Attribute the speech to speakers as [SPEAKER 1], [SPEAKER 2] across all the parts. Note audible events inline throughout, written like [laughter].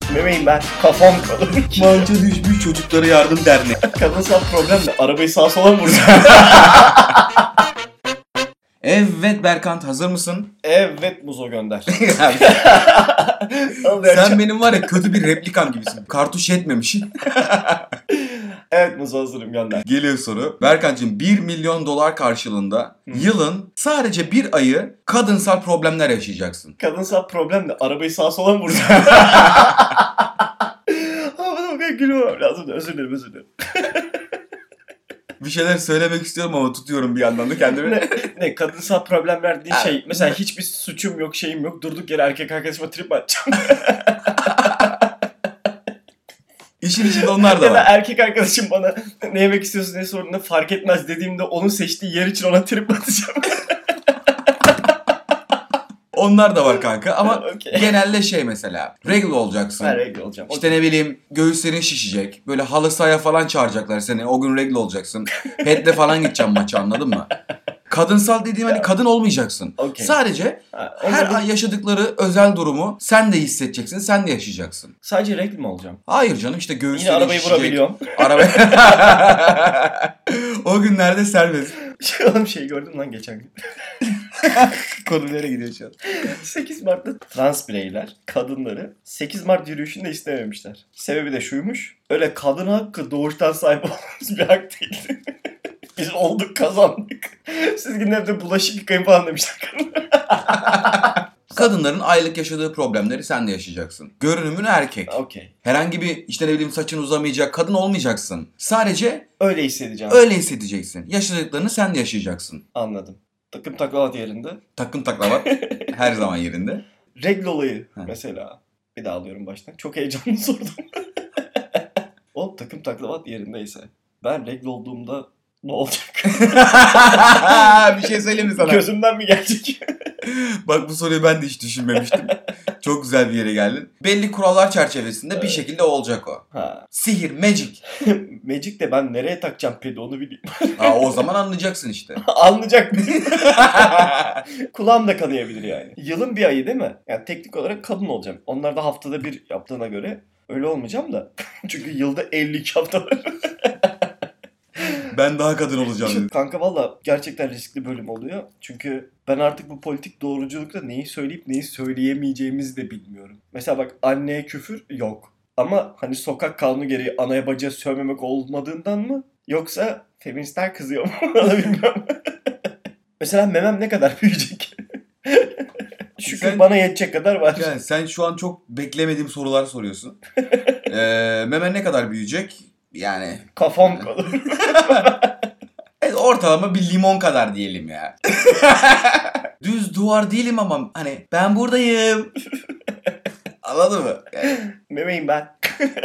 [SPEAKER 1] düşmemeyin ben. Kafam kalın. [laughs]
[SPEAKER 2] Manca düşmüş çocuklara yardım derneği.
[SPEAKER 1] Kalınsal problem de arabayı sağa sola vurdu.
[SPEAKER 2] Evet Berkant hazır [laughs] mısın?
[SPEAKER 1] [laughs] evet Muzo
[SPEAKER 2] [laughs]
[SPEAKER 1] gönder. Al ver.
[SPEAKER 2] Sen benim var ya kötü bir replikam gibisin. Kartuş yetmemişsin.
[SPEAKER 1] Evet Muzo hazırım gönder.
[SPEAKER 2] Geliyor soru. Berkant'cığım 1 milyon dolar karşılığında yılın sadece bir ayı kadınsal problemler yaşayacaksın.
[SPEAKER 1] Kadınsal problem de arabayı sağa sola vurdu. [laughs]
[SPEAKER 2] [laughs]
[SPEAKER 1] Ama bana bu kadar gülmemem lazım. Özür dilerim özür dilerim.
[SPEAKER 2] Bir şeyler söylemek istiyorum ama tutuyorum bir yandan da kendimi.
[SPEAKER 1] Ne kadınsal problemler diye şey. Mesela hiçbir suçum yok şeyim yok. Durduk yere erkek arkadaşıma trip atacağım.
[SPEAKER 2] İşin içinde onlar
[SPEAKER 1] [laughs]
[SPEAKER 2] da
[SPEAKER 1] ya da
[SPEAKER 2] var.
[SPEAKER 1] erkek arkadaşım bana ne yemek istiyorsun ne sorduğunda fark etmez dediğimde onun seçtiği yer için ona trip atacağım. [laughs]
[SPEAKER 2] Onlar da var kanka [laughs] ama
[SPEAKER 1] Okey.
[SPEAKER 2] genelde şey mesela. Regular olacaksın.
[SPEAKER 1] Ben regle olacağım.
[SPEAKER 2] İşte ne bileyim göğüslerin şişecek. Böyle halı sahaya falan çağıracaklar seni. O gün regl olacaksın. Petle falan gideceğim maça anladın mı? Kadınsal dediğim hani kadın olmayacaksın.
[SPEAKER 1] Okey.
[SPEAKER 2] Sadece
[SPEAKER 1] Ha, o
[SPEAKER 2] her
[SPEAKER 1] zaman
[SPEAKER 2] ay yaşadıkları özel durumu sen de hissedeceksin, sen de yaşayacaksın.
[SPEAKER 1] Sadece regle mi olacağım?
[SPEAKER 2] Hayır canım işte
[SPEAKER 1] Yine
[SPEAKER 2] göğüslerin
[SPEAKER 1] arabayı
[SPEAKER 2] şişecek.
[SPEAKER 1] vurabiliyorum. [laughs]
[SPEAKER 2] Araba... [laughs] o günlerde serbest.
[SPEAKER 1] Şey oğlum şey gördüm lan geçen gün. [laughs]
[SPEAKER 2] Konu nereye gidiyor şu an?
[SPEAKER 1] 8 Mart'ta trans bireyler kadınları 8 Mart yürüyüşünde istememişler. Sebebi de şuymuş. Öyle kadın hakkı doğuştan sahip [laughs] olmamız bir hak değildi. [laughs] Biz olduk kazandık. Siz yine evde bulaşık yıkayın falan demişler [laughs] kadınlar.
[SPEAKER 2] Kadınların aylık yaşadığı problemleri sen de yaşayacaksın. Görünümün erkek.
[SPEAKER 1] Okey.
[SPEAKER 2] Herhangi bir işte ne bileyim saçın uzamayacak kadın olmayacaksın. Sadece
[SPEAKER 1] Öyle hissedeceğim.
[SPEAKER 2] Öyle hissedeceksin. Yaşadıklarını sen de yaşayacaksın.
[SPEAKER 1] Anladım. Takım taklavat yerinde.
[SPEAKER 2] Takım taklavat her zaman yerinde. [laughs]
[SPEAKER 1] Regl olayı
[SPEAKER 2] Ha.
[SPEAKER 1] mesela. Bir daha alıyorum baştan. Çok heyecanlı [laughs] sordum. Oğlum takım taklavat yerindeyse. Ben regl olduğumda ne olacak?
[SPEAKER 2] bir şey söyleyeyim mi sana?
[SPEAKER 1] Gözümden mi gelecek?
[SPEAKER 2] Bak bu soruyu ben de hiç düşünmemiştim. Çok güzel bir yere geldin. Belli kurallar çerçevesinde bir
[SPEAKER 1] Evet.
[SPEAKER 2] şekilde olacak o.
[SPEAKER 1] ha.
[SPEAKER 2] Sihir, magic.
[SPEAKER 1] Magic de ben nereye takacağım pedi onu bileyim.
[SPEAKER 2] Aa, o zaman anlayacaksın işte.
[SPEAKER 1] [laughs] Anlayacak [laughs] mı? Kulağım da kanayabilir yani. Yılın bir ayı değil mi? Yani teknik olarak kadın olacağım. Onlar da haftada bir yaptığına göre öyle olmayacağım da. [laughs] Çünkü yılda 52 hafta var.
[SPEAKER 2] ben daha kadın
[SPEAKER 1] [laughs]
[SPEAKER 2] olacağım dedim.
[SPEAKER 1] Kanka valla gerçekten riskli bölüm oluyor. Çünkü ben artık bu politik doğruculukta neyi söyleyip neyi söyleyemeyeceğimizi de bilmiyorum. Mesela bak anneye küfür yok. Ama hani sokak kanunu gereği anaya bacıya sövmemek olmadığından mı? Yoksa feministler kızıyor mu? [laughs] Onu bilmiyorum. Mesela memem ne kadar büyüyecek? [laughs] Şükür
[SPEAKER 2] Sen-
[SPEAKER 1] bana yetecek kadar var.
[SPEAKER 2] Yani sen şu an çok beklemediğim sorular soruyorsun. ee, memen ne kadar büyüyecek? Yani
[SPEAKER 1] Kafam kalın.
[SPEAKER 2] Evet, ortalama bir limon kadar diyelim ya. [laughs] Düz duvar değilim ama hani ben buradayım. [laughs] Anladın mı? Yani-
[SPEAKER 1] [laughs] Memeyim ben.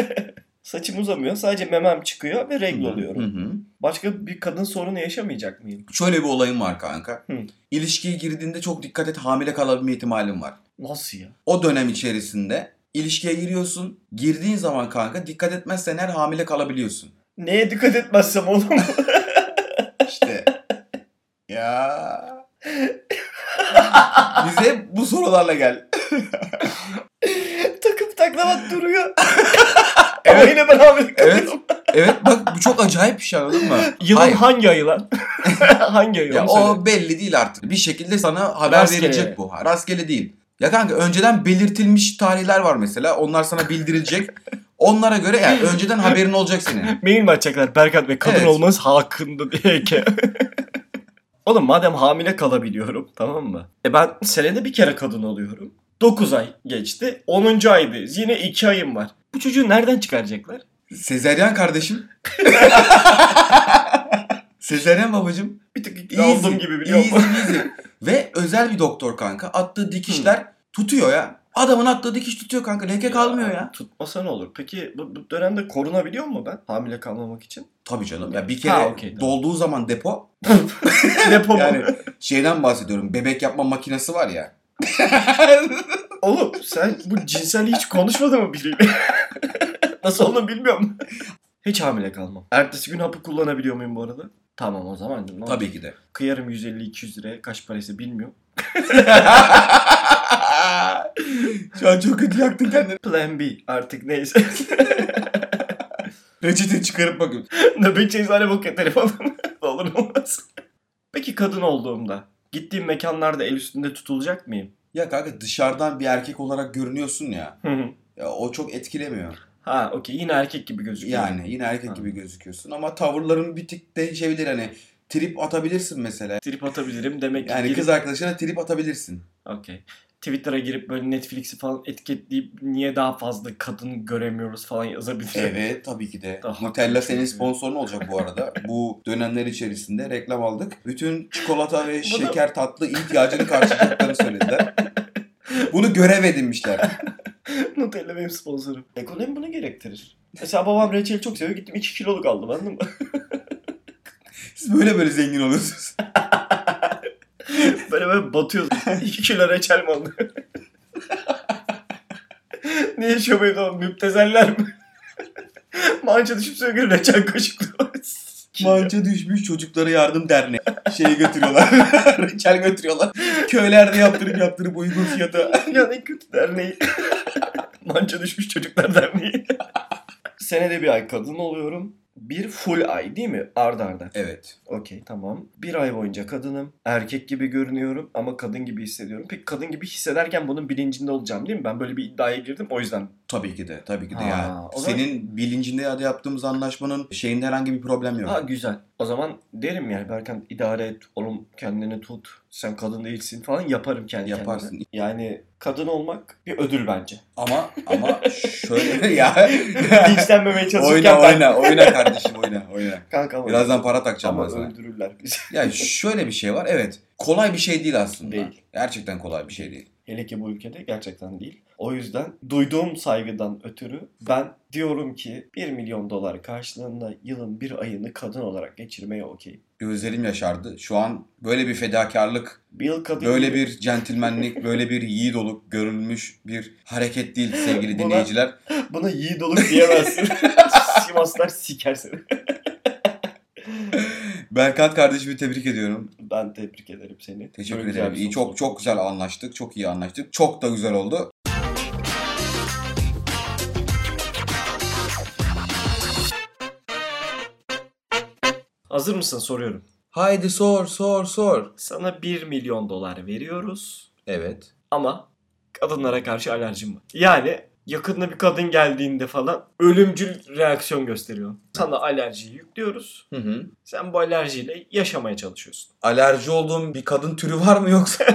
[SPEAKER 1] [laughs] Saçım uzamıyor. Sadece memem çıkıyor ve regl
[SPEAKER 2] Hı
[SPEAKER 1] oluyorum.
[SPEAKER 2] hı.
[SPEAKER 1] Başka bir kadın sorunu yaşamayacak mıyım?
[SPEAKER 2] Şöyle bir olayım var kanka.
[SPEAKER 1] Hı.
[SPEAKER 2] İlişkiye girdiğinde çok dikkat et hamile kalabilme ihtimalin var.
[SPEAKER 1] Nasıl ya?
[SPEAKER 2] O dönem içerisinde ilişkiye giriyorsun. Girdiğin zaman kanka dikkat etmezsen her hamile kalabiliyorsun.
[SPEAKER 1] Neye dikkat etmezsem oğlum? [laughs]
[SPEAKER 2] İşte. ya. Bize bu sorularla gel.
[SPEAKER 1] Takım taklavat [laughs] duruyor. Ama yine ben hamile
[SPEAKER 2] Evet.
[SPEAKER 1] kalıyorum.
[SPEAKER 2] Evet bak bu çok acayip bir şey anladın mı?
[SPEAKER 1] Yılın
[SPEAKER 2] Hayır.
[SPEAKER 1] hangi ayı
[SPEAKER 2] [laughs]
[SPEAKER 1] lan? hangi ayı?
[SPEAKER 2] Ya
[SPEAKER 1] onu söyle.
[SPEAKER 2] o belli değil artık. Bir şekilde sana haber
[SPEAKER 1] Rastgele.
[SPEAKER 2] verilecek bu. Ha, Rastgele değil. Ya kanka önceden belirtilmiş tarihler var mesela. Onlar
[SPEAKER 1] [laughs]
[SPEAKER 2] sana bildirilecek. Onlara göre yani önceden haberin olacak senin.
[SPEAKER 1] Mail mi açacaklar Berkat Bey? Kadın
[SPEAKER 2] Evet.
[SPEAKER 1] olmanız hakkında
[SPEAKER 2] [laughs]
[SPEAKER 1] diye ki. Oğlum madem hamile kalabiliyorum tamam mı? E ben senede bir kere kadın oluyorum. 9 ay geçti. 10. aydayız. Yine 2 ayım var. Bu çocuğu nereden çıkaracaklar?
[SPEAKER 2] Sezeryan [laughs] kardeşim. Sezeryan babacım.
[SPEAKER 1] Bir tık ikna
[SPEAKER 2] Easy,
[SPEAKER 1] oldum gibi biliyor musun?
[SPEAKER 2] easy, easy. Ve özel bir doktor kanka. Attığı dikişler tutuyor ya. Adamın attığı dikiş tutuyor kanka. Leke kalmıyor ya.
[SPEAKER 1] Tutmasa ne olur? Peki bu, bu dönemde korunabiliyor mu ben hamile kalmamak
[SPEAKER 2] [laughs]
[SPEAKER 1] için?
[SPEAKER 2] Tabii canım. Ya bir kere
[SPEAKER 1] Ha, okey, tamam.
[SPEAKER 2] dolduğu zaman depo
[SPEAKER 1] Depo mu?
[SPEAKER 2] yani şeyden bahsediyorum. Bebek yapma makinesi var ya. [laughs]
[SPEAKER 1] Oğlum sen bu cinsel hiç konuşmadın mı biriyle? [laughs] Nasıl olduğunu bilmiyorum. Hiç hamile kalmam. Ertesi gün hapı kullanabiliyor muyum bu arada? Tamam o zaman. canım.
[SPEAKER 2] Tabii ki de.
[SPEAKER 1] Kıyarım 150-200 liraya. Kaç parası bilmiyorum.
[SPEAKER 2] Şu an çok kötü yaktın kendini.
[SPEAKER 1] Plan B artık neyse. [laughs]
[SPEAKER 2] Reçete çıkarıp bakın.
[SPEAKER 1] Nöbetçi eczane bakıyor [laughs] telefonuna. Olur olmaz. Peki kadın olduğumda gittiğim mekanlarda el üstünde tutulacak mıyım?
[SPEAKER 2] Ya kanka dışarıdan bir erkek olarak görünüyorsun ya.
[SPEAKER 1] Hı hı.
[SPEAKER 2] ya o çok etkilemiyor.
[SPEAKER 1] ha okey yine erkek gibi gözüküyor.
[SPEAKER 2] Yani yine erkek
[SPEAKER 1] Ha.
[SPEAKER 2] gibi gözüküyorsun ama tavırların bir tık değişebilir hani. Trip atabilirsin mesela.
[SPEAKER 1] Trip atabilirim demek ki.
[SPEAKER 2] Yani
[SPEAKER 1] girip-
[SPEAKER 2] kız arkadaşına trip atabilirsin.
[SPEAKER 1] Okey. Twitter'a girip böyle Netflix'i falan etiketleyip niye daha fazla kadın göremiyoruz falan yazabilirim.
[SPEAKER 2] Evet tabii ki de.
[SPEAKER 1] Daha
[SPEAKER 2] Nutella
[SPEAKER 1] çok
[SPEAKER 2] senin
[SPEAKER 1] iyi.
[SPEAKER 2] sponsorun olacak bu arada. bu dönemler içerisinde reklam aldık. Bütün çikolata ve şeker tatlı ihtiyacını karşılayacaklarını söylediler. Bunu görev edinmişler.
[SPEAKER 1] [laughs] Nutella benim sponsorum. Ekonomi bunu gerektirir. Mesela babam reçeli çok seviyor. Gittim 2 kiloluk aldım anladın mı? [laughs]
[SPEAKER 2] Siz böyle böyle zengin oluyorsunuz.
[SPEAKER 1] böyle böyle
[SPEAKER 2] [laughs]
[SPEAKER 1] batıyoruz. 2 kilo reçel mi aldım? [laughs] ne yaşıyor bu evde oğlum? Müptezeller mi? [laughs] Manca düşüp sürekli reçel kaşıklıyor. [laughs]
[SPEAKER 2] Manca düşmüş çocuklara yardım derneği. Şeyi götürüyorlar. [laughs] Reçel götürüyorlar. Köylerde yaptırıp yaptırıp uygun fiyata.
[SPEAKER 1] Dünyanın en kötü derneği. [laughs] Manca düşmüş çocuklar derneği. [laughs] Senede bir ay kadın oluyorum. Bir full ay değil mi? Arda arda.
[SPEAKER 2] Evet.
[SPEAKER 1] Okey tamam. Bir ay boyunca kadınım. Erkek gibi görünüyorum ama kadın gibi hissediyorum. Peki kadın gibi hissederken bunun bilincinde olacağım değil mi? Ben böyle bir iddiaya girdim o yüzden.
[SPEAKER 2] Tabii ki de. Tabii ki de
[SPEAKER 1] Ha,
[SPEAKER 2] ya.
[SPEAKER 1] o zaman-
[SPEAKER 2] Senin bilincinde ya da yaptığımız anlaşmanın şeyinde herhangi bir problem yok.
[SPEAKER 1] Ha güzel. O zaman derim yani Berkan idare et oğlum kendini tut. Sen kadın değilsin falan yaparım kendi
[SPEAKER 2] Yaparsın.
[SPEAKER 1] kendime. Yani kadın olmak bir ödül [laughs] bence.
[SPEAKER 2] Ama ama şöyle [laughs] ya.
[SPEAKER 1] Linçlenmemeye çalışırken
[SPEAKER 2] oyna
[SPEAKER 1] ben...
[SPEAKER 2] oyna oyna kardeşim oyna oyna.
[SPEAKER 1] Kanka ama-
[SPEAKER 2] Birazdan para takacağım ben
[SPEAKER 1] ama
[SPEAKER 2] sana.
[SPEAKER 1] öldürürler [laughs] bizi.
[SPEAKER 2] Ya şöyle bir şey var evet. Kolay bir şey değil aslında.
[SPEAKER 1] Değil.
[SPEAKER 2] Gerçekten kolay bir şey değil.
[SPEAKER 1] Hele ki bu ülkede gerçekten değil. O yüzden duyduğum saygıdan ötürü ben diyorum ki 1 milyon dolar karşılığında yılın bir ayını kadın olarak geçirmeye okeyim.
[SPEAKER 2] Gözlerim yaşardı. Şu an böyle bir fedakarlık,
[SPEAKER 1] Bir yıl kadın
[SPEAKER 2] böyle
[SPEAKER 1] gibi-
[SPEAKER 2] bir centilmenlik, böyle bir yiğit olup görülmüş bir hareket değil sevgili
[SPEAKER 1] Buna-
[SPEAKER 2] dinleyiciler.
[SPEAKER 1] [laughs] Buna yiğit olup
[SPEAKER 2] [laughs]
[SPEAKER 1] diyemezsin. Sivaslar siker seni.
[SPEAKER 2] Berkant kardeşimi tebrik ediyorum.
[SPEAKER 1] Ben tebrik ederim seni.
[SPEAKER 2] Teşekkür
[SPEAKER 1] Böyle güzel
[SPEAKER 2] ederim.
[SPEAKER 1] bir
[SPEAKER 2] İyi,
[SPEAKER 1] soru
[SPEAKER 2] çok çok güzel anlaştık. Çok iyi anlaştık. Çok da güzel oldu.
[SPEAKER 1] Hazır mısın soruyorum.
[SPEAKER 2] Haydi sor sor sor.
[SPEAKER 1] Sana 1 milyon dolar veriyoruz
[SPEAKER 2] Evet.
[SPEAKER 1] ama kadınlara karşı alerjin var. Yani yakında bir kadın geldiğinde falan ölümcül reaksiyon gösteriyor. Sana alerjiyi yüklüyoruz.
[SPEAKER 2] Hı hı.
[SPEAKER 1] Sen bu alerjiyle yaşamaya çalışıyorsun.
[SPEAKER 2] alerji olduğum bir kadın türü var mı yoksa?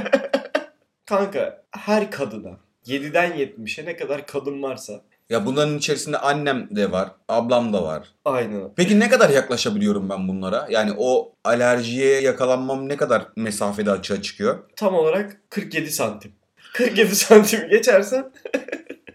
[SPEAKER 1] Kanka her kadına 7'den 70'e ne kadar kadın varsa
[SPEAKER 2] ya bunların içerisinde annem de var, ablam da var.
[SPEAKER 1] aynı.
[SPEAKER 2] Peki ne kadar yaklaşabiliyorum ben bunlara? Yani o alerjiye yakalanmam ne kadar mesafede açığa çıkıyor?
[SPEAKER 1] Tam olarak 47 santim. 47 santim geçersen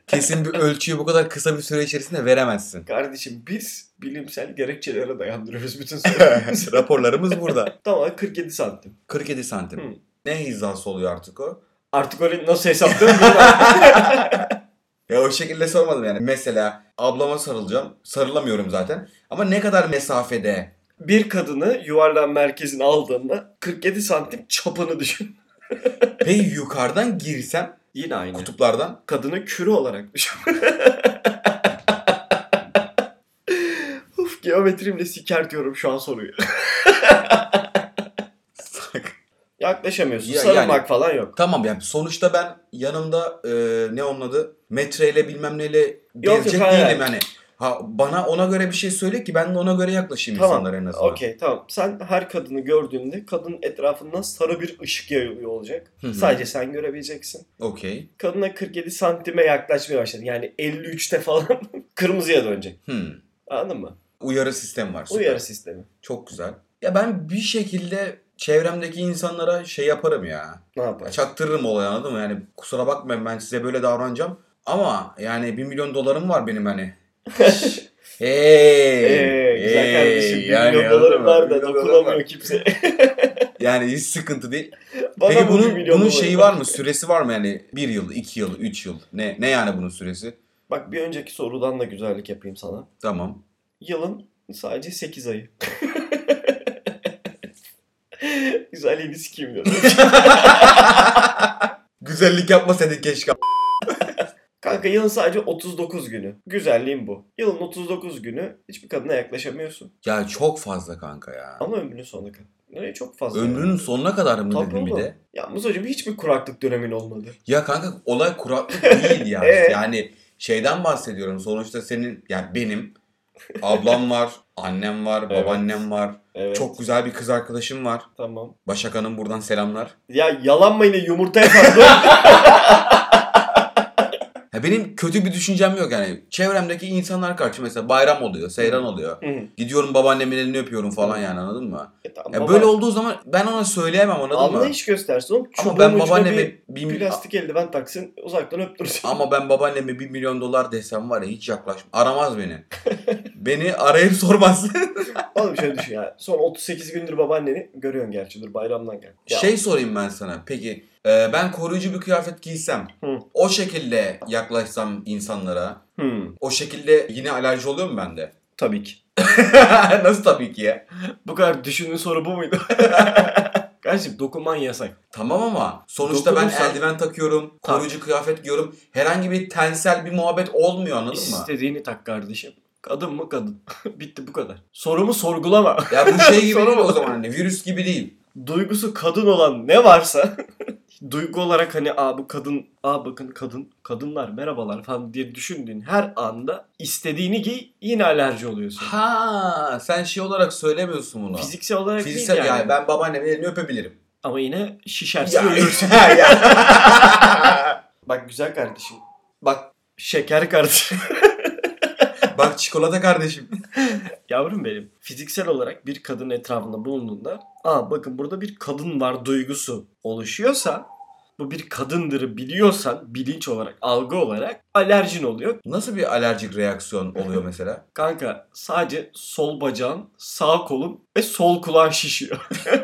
[SPEAKER 2] Kesin bir ölçüyü bu kadar kısa bir süre içerisinde veremezsin.
[SPEAKER 1] [laughs] kardeşim biz bilimsel gerekçelere dayandırıyoruz bütün sorularımızı.
[SPEAKER 2] Raporlarımız burada.
[SPEAKER 1] Tam olarak 47 santim.
[SPEAKER 2] 47 santim.
[SPEAKER 1] Hı.
[SPEAKER 2] Ne hizası oluyor artık o?
[SPEAKER 1] Artık öyle nasıl hesaplıyorum bilmiyorum.
[SPEAKER 2] Ya o şekilde sormadım yani. Mesela ablama sarılacağım. Sarılamıyorum zaten. Ama ne kadar mesafede?
[SPEAKER 1] Bir kadını yuvarlan merkezine aldığında 47 santim çapını düşün.
[SPEAKER 2] Ve yukarıdan girsem
[SPEAKER 1] Yine aynı.
[SPEAKER 2] kutuplardan
[SPEAKER 1] kadını kürü olarak
[SPEAKER 2] [laughs]
[SPEAKER 1] düşün. Uf geometrimle siker diyorum şu an soruyu. Yaklaşamıyorsun.
[SPEAKER 2] Ya,
[SPEAKER 1] Sarılmak
[SPEAKER 2] yani-
[SPEAKER 1] falan yok.
[SPEAKER 2] Tamam yani sonuçta ben yanımda e, ne onun adı metreyle bilmem neyle gezecek
[SPEAKER 1] yok, hayır,
[SPEAKER 2] değilim
[SPEAKER 1] hayır.
[SPEAKER 2] yani. Ha, bana ona göre bir şey söyle ki ben de ona göre yaklaşayım
[SPEAKER 1] Tamam,
[SPEAKER 2] insanlara en azından.
[SPEAKER 1] Okey tamam. Sen her kadını gördüğünde kadının etrafından sarı bir ışık yayılıyor olacak.
[SPEAKER 2] Hı hı.
[SPEAKER 1] Sadece sen görebileceksin.
[SPEAKER 2] Okey.
[SPEAKER 1] Kadına 47 santime yaklaşmaya başladın. Yani 53'te falan [laughs] kırmızıya dönecek.
[SPEAKER 2] Hmm.
[SPEAKER 1] Anladın mı?
[SPEAKER 2] Uyarı sistem var. Süper.
[SPEAKER 1] Uyarı sistemi.
[SPEAKER 2] Çok güzel. Ya ben bir şekilde çevremdeki insanlara şey yaparım ya.
[SPEAKER 1] Ne yapar?
[SPEAKER 2] Çaktırırım olayı anladın mı? Yani kusura bakmayın ben size böyle davranacağım. Ama yani 1 milyon dolarım var benim hani. [laughs] Hey,
[SPEAKER 1] Ee, güzel
[SPEAKER 2] hey,
[SPEAKER 1] kardeşim. Bir
[SPEAKER 2] yani
[SPEAKER 1] milyon
[SPEAKER 2] anladın
[SPEAKER 1] dolarım
[SPEAKER 2] mı?
[SPEAKER 1] var da
[SPEAKER 2] Bir milyon dolarım var.
[SPEAKER 1] dokunamıyor
[SPEAKER 2] [laughs]
[SPEAKER 1] kimse.
[SPEAKER 2] Yani hiç sıkıntı değil.
[SPEAKER 1] Bana
[SPEAKER 2] Peki
[SPEAKER 1] bu bir
[SPEAKER 2] bunun,
[SPEAKER 1] milyon
[SPEAKER 2] bunun
[SPEAKER 1] doları
[SPEAKER 2] şeyi var mı? Süresi var mı yani? Bir yıl, iki yıl, üç yıl. Ne ne yani bunun süresi?
[SPEAKER 1] Bak bir önceki sorudan da güzellik yapayım sana.
[SPEAKER 2] Tamam.
[SPEAKER 1] Yılın sadece 8 ayı. [laughs] Güzelliğini sikeyim diyorum.
[SPEAKER 2] Güzellik yapmasaydın keşke.
[SPEAKER 1] Kanka yılın sadece 39 günü. Güzelliğin bu. Yılın 39 günü hiçbir kadına yaklaşamıyorsun.
[SPEAKER 2] Ya çok fazla kanka ya.
[SPEAKER 1] Ama ömrünün sonuna kadar. Nereye çok fazla.
[SPEAKER 2] Ömrünün sonuna kadar mı
[SPEAKER 1] Tabii
[SPEAKER 2] dedim bir
[SPEAKER 1] oğlum.
[SPEAKER 2] de?
[SPEAKER 1] Ya Muzocuğum hiçbir kuraklık dönemin olmadı.
[SPEAKER 2] Ya kanka
[SPEAKER 1] [laughs]
[SPEAKER 2] olay kuraklık değil ya.
[SPEAKER 1] Ee?
[SPEAKER 2] Yani şeyden bahsediyorum. Sonuçta senin yani benim ablam var, annem var,
[SPEAKER 1] Evet.
[SPEAKER 2] babaannem var.
[SPEAKER 1] Evet.
[SPEAKER 2] Çok güzel bir kız arkadaşım var.
[SPEAKER 1] Tamam.
[SPEAKER 2] Başak Hanım buradan selamlar.
[SPEAKER 1] Ya yalanma yine yumurta yapardı.
[SPEAKER 2] Ya benim kötü bir düşüncem yok yani. Çevremdeki insanlar karşı mesela bayram oluyor, seyran oluyor. Gidiyorum babaannemin elini öpüyorum falan yani anladın mı?
[SPEAKER 1] E
[SPEAKER 2] Ya böyle olduğu zaman ben ona söyleyemem anladın mı?
[SPEAKER 1] Anlayış göstersin oğlum.
[SPEAKER 2] Ama
[SPEAKER 1] Çubuğun
[SPEAKER 2] ben
[SPEAKER 1] ucuna
[SPEAKER 2] babaanneme bir,
[SPEAKER 1] şey bir
[SPEAKER 2] mil-
[SPEAKER 1] plastik eldiven taksın uzaktan öptürsün.
[SPEAKER 2] ama ben babaanneme 1 milyon dolar desem var ya hiç yaklaşma.
[SPEAKER 1] [laughs]
[SPEAKER 2] Aramaz beni. beni arayıp sormaz. [laughs]
[SPEAKER 1] Oğlum şöyle düşün ya. Son 38 gündür babaanneni görüyorsun gerçi. Dur bayramdan gel. Ya,
[SPEAKER 2] şey sorayım ben sana. Peki e, ben koruyucu bir kıyafet giysem
[SPEAKER 1] Hı.
[SPEAKER 2] o şekilde yaklaşsam insanlara
[SPEAKER 1] hmm,
[SPEAKER 2] o şekilde yine alerji oluyor mu bende? [laughs]
[SPEAKER 1] tabii ki.
[SPEAKER 2] Nasıl tabii ki ya?
[SPEAKER 1] Bu kadar düşündüğün soru bu muydu? [laughs] Kardeşim dokunman yasak.
[SPEAKER 2] Tamam ama sonuçta ben
[SPEAKER 1] Dokunursan-
[SPEAKER 2] eldiven takıyorum,
[SPEAKER 1] Tamam.
[SPEAKER 2] koruyucu kıyafet giyiyorum. Herhangi bir tensel bir muhabbet olmuyor anladın mı?
[SPEAKER 1] İstediğini tak kardeşim. Kadın mı kadın? [laughs] Bitti bu kadar. Sorumu sorgulama.
[SPEAKER 2] Ya bu şey gibi
[SPEAKER 1] Sonra
[SPEAKER 2] değil o
[SPEAKER 1] bak.
[SPEAKER 2] zaman hani virüs gibi değil.
[SPEAKER 1] Duygusu kadın olan ne varsa [laughs] duygu olarak hani aa bu kadın, aa bakın kadın, kadınlar merhabalar falan diye düşündüğün her anda istediğini giy yine alerji oluyorsun.
[SPEAKER 2] Ha sen şey olarak söylemiyorsun bunu.
[SPEAKER 1] Fiziksel olarak
[SPEAKER 2] Fiziksel
[SPEAKER 1] değil
[SPEAKER 2] yani.
[SPEAKER 1] yani.
[SPEAKER 2] ben babaannemin elini öpebilirim.
[SPEAKER 1] Ama yine şişersin
[SPEAKER 2] Ya,
[SPEAKER 1] ölürsün. [laughs]
[SPEAKER 2] [laughs] ya.
[SPEAKER 1] Bak güzel kardeşim.
[SPEAKER 2] bak
[SPEAKER 1] Şeker kardeşim.
[SPEAKER 2] bak çikolata kardeşim.
[SPEAKER 1] [laughs] Yavrum benim. Fiziksel olarak bir kadın etrafında bulunduğunda aa bakın burada bir kadın var duygusu oluşuyorsa bu bir kadındırı biliyorsan bilinç olarak algı olarak alerjin oluyor.
[SPEAKER 2] Nasıl bir alerjik reaksiyon oluyor mesela?
[SPEAKER 1] Kanka sadece sol bacağın, sağ kolun ve sol kulağın şişiyor. [laughs]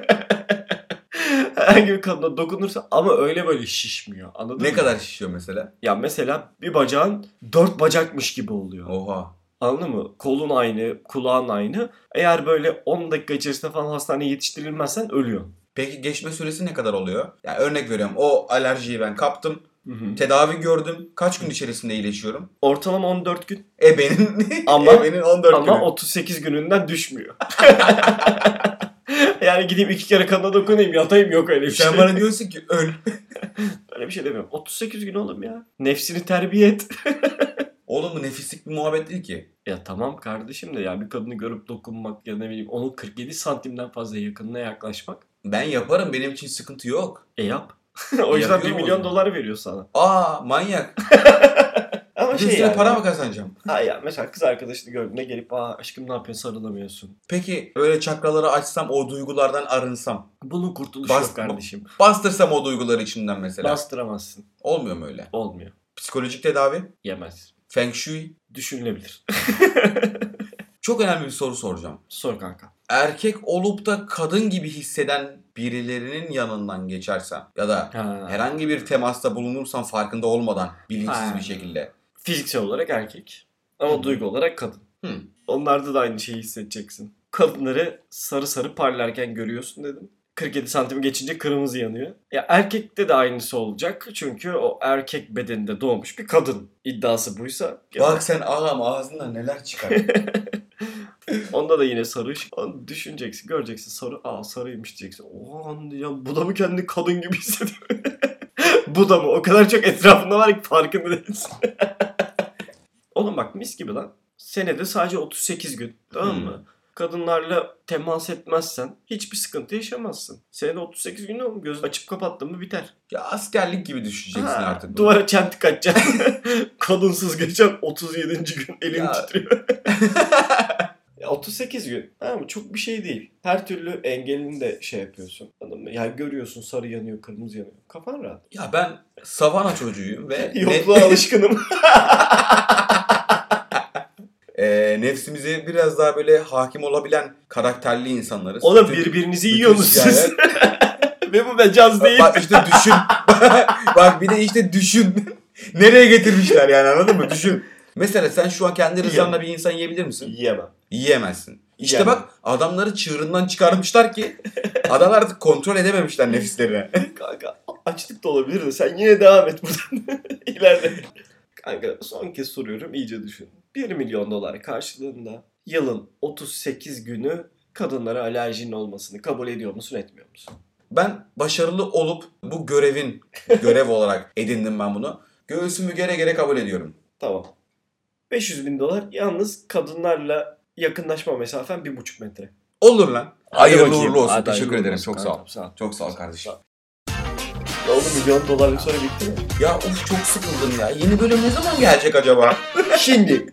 [SPEAKER 1] Herhangi bir kadına dokunursa ama öyle böyle şişmiyor. Anladın
[SPEAKER 2] Ne
[SPEAKER 1] mı?
[SPEAKER 2] kadar şişiyor mesela?
[SPEAKER 1] Ya mesela bir bacağın dört bacakmış gibi oluyor.
[SPEAKER 2] Oha.
[SPEAKER 1] Anladın mı? Kolun aynı, kulağın aynı. Eğer böyle 10 dakika içerisinde falan hastaneye yetiştirilmezsen ölüyorsun.
[SPEAKER 2] Peki geçme süresi ne kadar oluyor? Ya örnek veriyorum o alerjiyi ben kaptım,
[SPEAKER 1] Hı-hı.
[SPEAKER 2] tedavi gördüm. Kaç gün içerisinde iyileşiyorum?
[SPEAKER 1] Ortalama 14 gün
[SPEAKER 2] Ebenin,
[SPEAKER 1] Ama-
[SPEAKER 2] [laughs] ebenin 14
[SPEAKER 1] ama
[SPEAKER 2] günü.
[SPEAKER 1] 38 gününden düşmüyor. [laughs] yani gideyim iki kere kanına dokunayım yatayım yok öyle bir şey.
[SPEAKER 2] Sen bana diyorsun ki öl.
[SPEAKER 1] Öyle bir şey demiyorum. 38 gün oğlum ya. Nefsini terbiye et. [laughs]
[SPEAKER 2] Oğlum bu nefislik bir muhabbet değil ki.
[SPEAKER 1] ya tamam kardeşim de ya bir kadını görüp dokunmak ya ne bileyim onun 47 santimden fazla yakınına yaklaşmak.
[SPEAKER 2] Ben yaparım benim için sıkıntı yok.
[SPEAKER 1] E yap. [laughs] o yüzden 1
[SPEAKER 2] Yapıyorum o
[SPEAKER 1] milyon
[SPEAKER 2] zaman.
[SPEAKER 1] dolar veriyor sana.
[SPEAKER 2] Aa manyak.
[SPEAKER 1] Ama
[SPEAKER 2] Bir de
[SPEAKER 1] şey
[SPEAKER 2] üstüne
[SPEAKER 1] yani.
[SPEAKER 2] para mı kazanacağım?
[SPEAKER 1] Ha ya mesela kız arkadaşını gördüğünde gelip aa aşkım ne yapıyorsun sarılamıyorsun.
[SPEAKER 2] Peki böyle çakraları açsam o duygulardan arınsam.
[SPEAKER 1] Bunun kurtuluşu
[SPEAKER 2] Bas-
[SPEAKER 1] yok kardeşim.
[SPEAKER 2] Bastırsam o duyguları içimden mesela.
[SPEAKER 1] Bastıramazsın.
[SPEAKER 2] Olmuyor mu öyle?
[SPEAKER 1] Olmuyor.
[SPEAKER 2] Psikolojik tedavi?
[SPEAKER 1] Yemez.
[SPEAKER 2] Feng Shui?
[SPEAKER 1] Düşünülebilir. [laughs]
[SPEAKER 2] Çok önemli bir soru soracağım.
[SPEAKER 1] Sor kanka.
[SPEAKER 2] Erkek olup da kadın gibi hisseden birilerinin yanından geçersen ya da
[SPEAKER 1] Ha.
[SPEAKER 2] herhangi bir temasta bulunursan farkında olmadan bilinçsiz
[SPEAKER 1] Ha.
[SPEAKER 2] bir şekilde.
[SPEAKER 1] Fiziksel olarak erkek. Ama
[SPEAKER 2] Hı.
[SPEAKER 1] duygu olarak kadın.
[SPEAKER 2] Hı.
[SPEAKER 1] Onlarda da aynı şeyi hissedeceksin. Kadınları sarı sarı parlarken görüyorsun dedim. 47 santim geçince kırmızı yanıyor. Ya erkekte de aynısı olacak. Çünkü o erkek bedeninde doğmuş bir kadın. iddiası buysa.
[SPEAKER 2] Bak sen ağam ağzından neler çıkar.
[SPEAKER 1] [laughs] Onda da yine sarı ışık. Onu düşüneceksin, göreceksin sarı. Aa sarıymış diyeceksin. Oha ya bu da mı kendini kadın gibi hissediyor? [laughs] bu da mı? O kadar çok etrafında var ki farkında değilsin. [laughs] Oğlum bak mis gibi lan. Senede sadece 38 gün. Tamam mı? Kadınlarla temas etmezsen hiçbir sıkıntı yaşamazsın. Senede 38 gün oğlum göz açıp kapattın mı biter.
[SPEAKER 2] Ya askerlik gibi düşüneceksin
[SPEAKER 1] Ha,
[SPEAKER 2] artık. bunu.
[SPEAKER 1] Duvara çentik atacaksın. [laughs] Kadınsız geçen 37. gün elim
[SPEAKER 2] Ya. [laughs]
[SPEAKER 1] titriyor. Ya 38 gün. Tamam mı? Çok bir şey değil. Her türlü engelini de şey yapıyorsun. Anladın mı? Ya görüyorsun sarı yanıyor, kırmızı yanıyor. Kafan rahat.
[SPEAKER 2] Ya ben savana çocuğuyum ve
[SPEAKER 1] [laughs] Yokluğa
[SPEAKER 2] ne-
[SPEAKER 1] alışkınım.
[SPEAKER 2] [laughs] Eee, nefsimize biraz daha böyle hakim olabilen karakterli insanlarız.
[SPEAKER 1] Oğlum
[SPEAKER 2] Bütün-
[SPEAKER 1] birbirinizi
[SPEAKER 2] bütün
[SPEAKER 1] yiyorsunuz siz.
[SPEAKER 2] hikaye-
[SPEAKER 1] [laughs] Ve bu mecaz [laughs] değil.
[SPEAKER 2] Bak işte düşün. Bak bir de işte düşün. [laughs] Nereye getirmişler yani anladın mı? Düşün. Mesela sen şu an kendi rızanla bir insan yiyebilir misin?
[SPEAKER 1] Yiyemem.
[SPEAKER 2] Yiyemezsin. İşte
[SPEAKER 1] Yiyemem.
[SPEAKER 2] bak adamları çığırından
[SPEAKER 1] [laughs]
[SPEAKER 2] çıkarmışlar ki adamlar artık kontrol edememişler nefislerini.
[SPEAKER 1] [laughs] Kanka açlık da olabilir de sen yine devam et buradan. İleride. Kanka son kez soruyorum iyice düşün. 1 milyon dolar karşılığında yılın 38 günü kadınlara alerjinin olmasını kabul ediyor musun etmiyor musun?
[SPEAKER 2] Ben başarılı olup bu görevin görev olarak edindim ben bunu. Göğsümü gere gere kabul ediyorum.
[SPEAKER 1] Tamam. 500 bin dolar yalnız kadınlarla yakınlaşma mesafen 1,5 metre.
[SPEAKER 2] Olur lan. Hayırlı
[SPEAKER 1] bakayım.
[SPEAKER 2] uğurlu olsun.
[SPEAKER 1] Hadi
[SPEAKER 2] Teşekkür
[SPEAKER 1] hayırlı
[SPEAKER 2] ederim.
[SPEAKER 1] olsun
[SPEAKER 2] Çok sağ ol.
[SPEAKER 1] kankam, Sağ ol.
[SPEAKER 2] Çok sağ ol kardeşim.
[SPEAKER 1] Ya oğlum milyon dolarlık soru bitti
[SPEAKER 2] [laughs]
[SPEAKER 1] mi?
[SPEAKER 2] Ya of çok sıkıldım ya. Yeni bölüm ne zaman gelecek acaba?
[SPEAKER 1] Şimdi.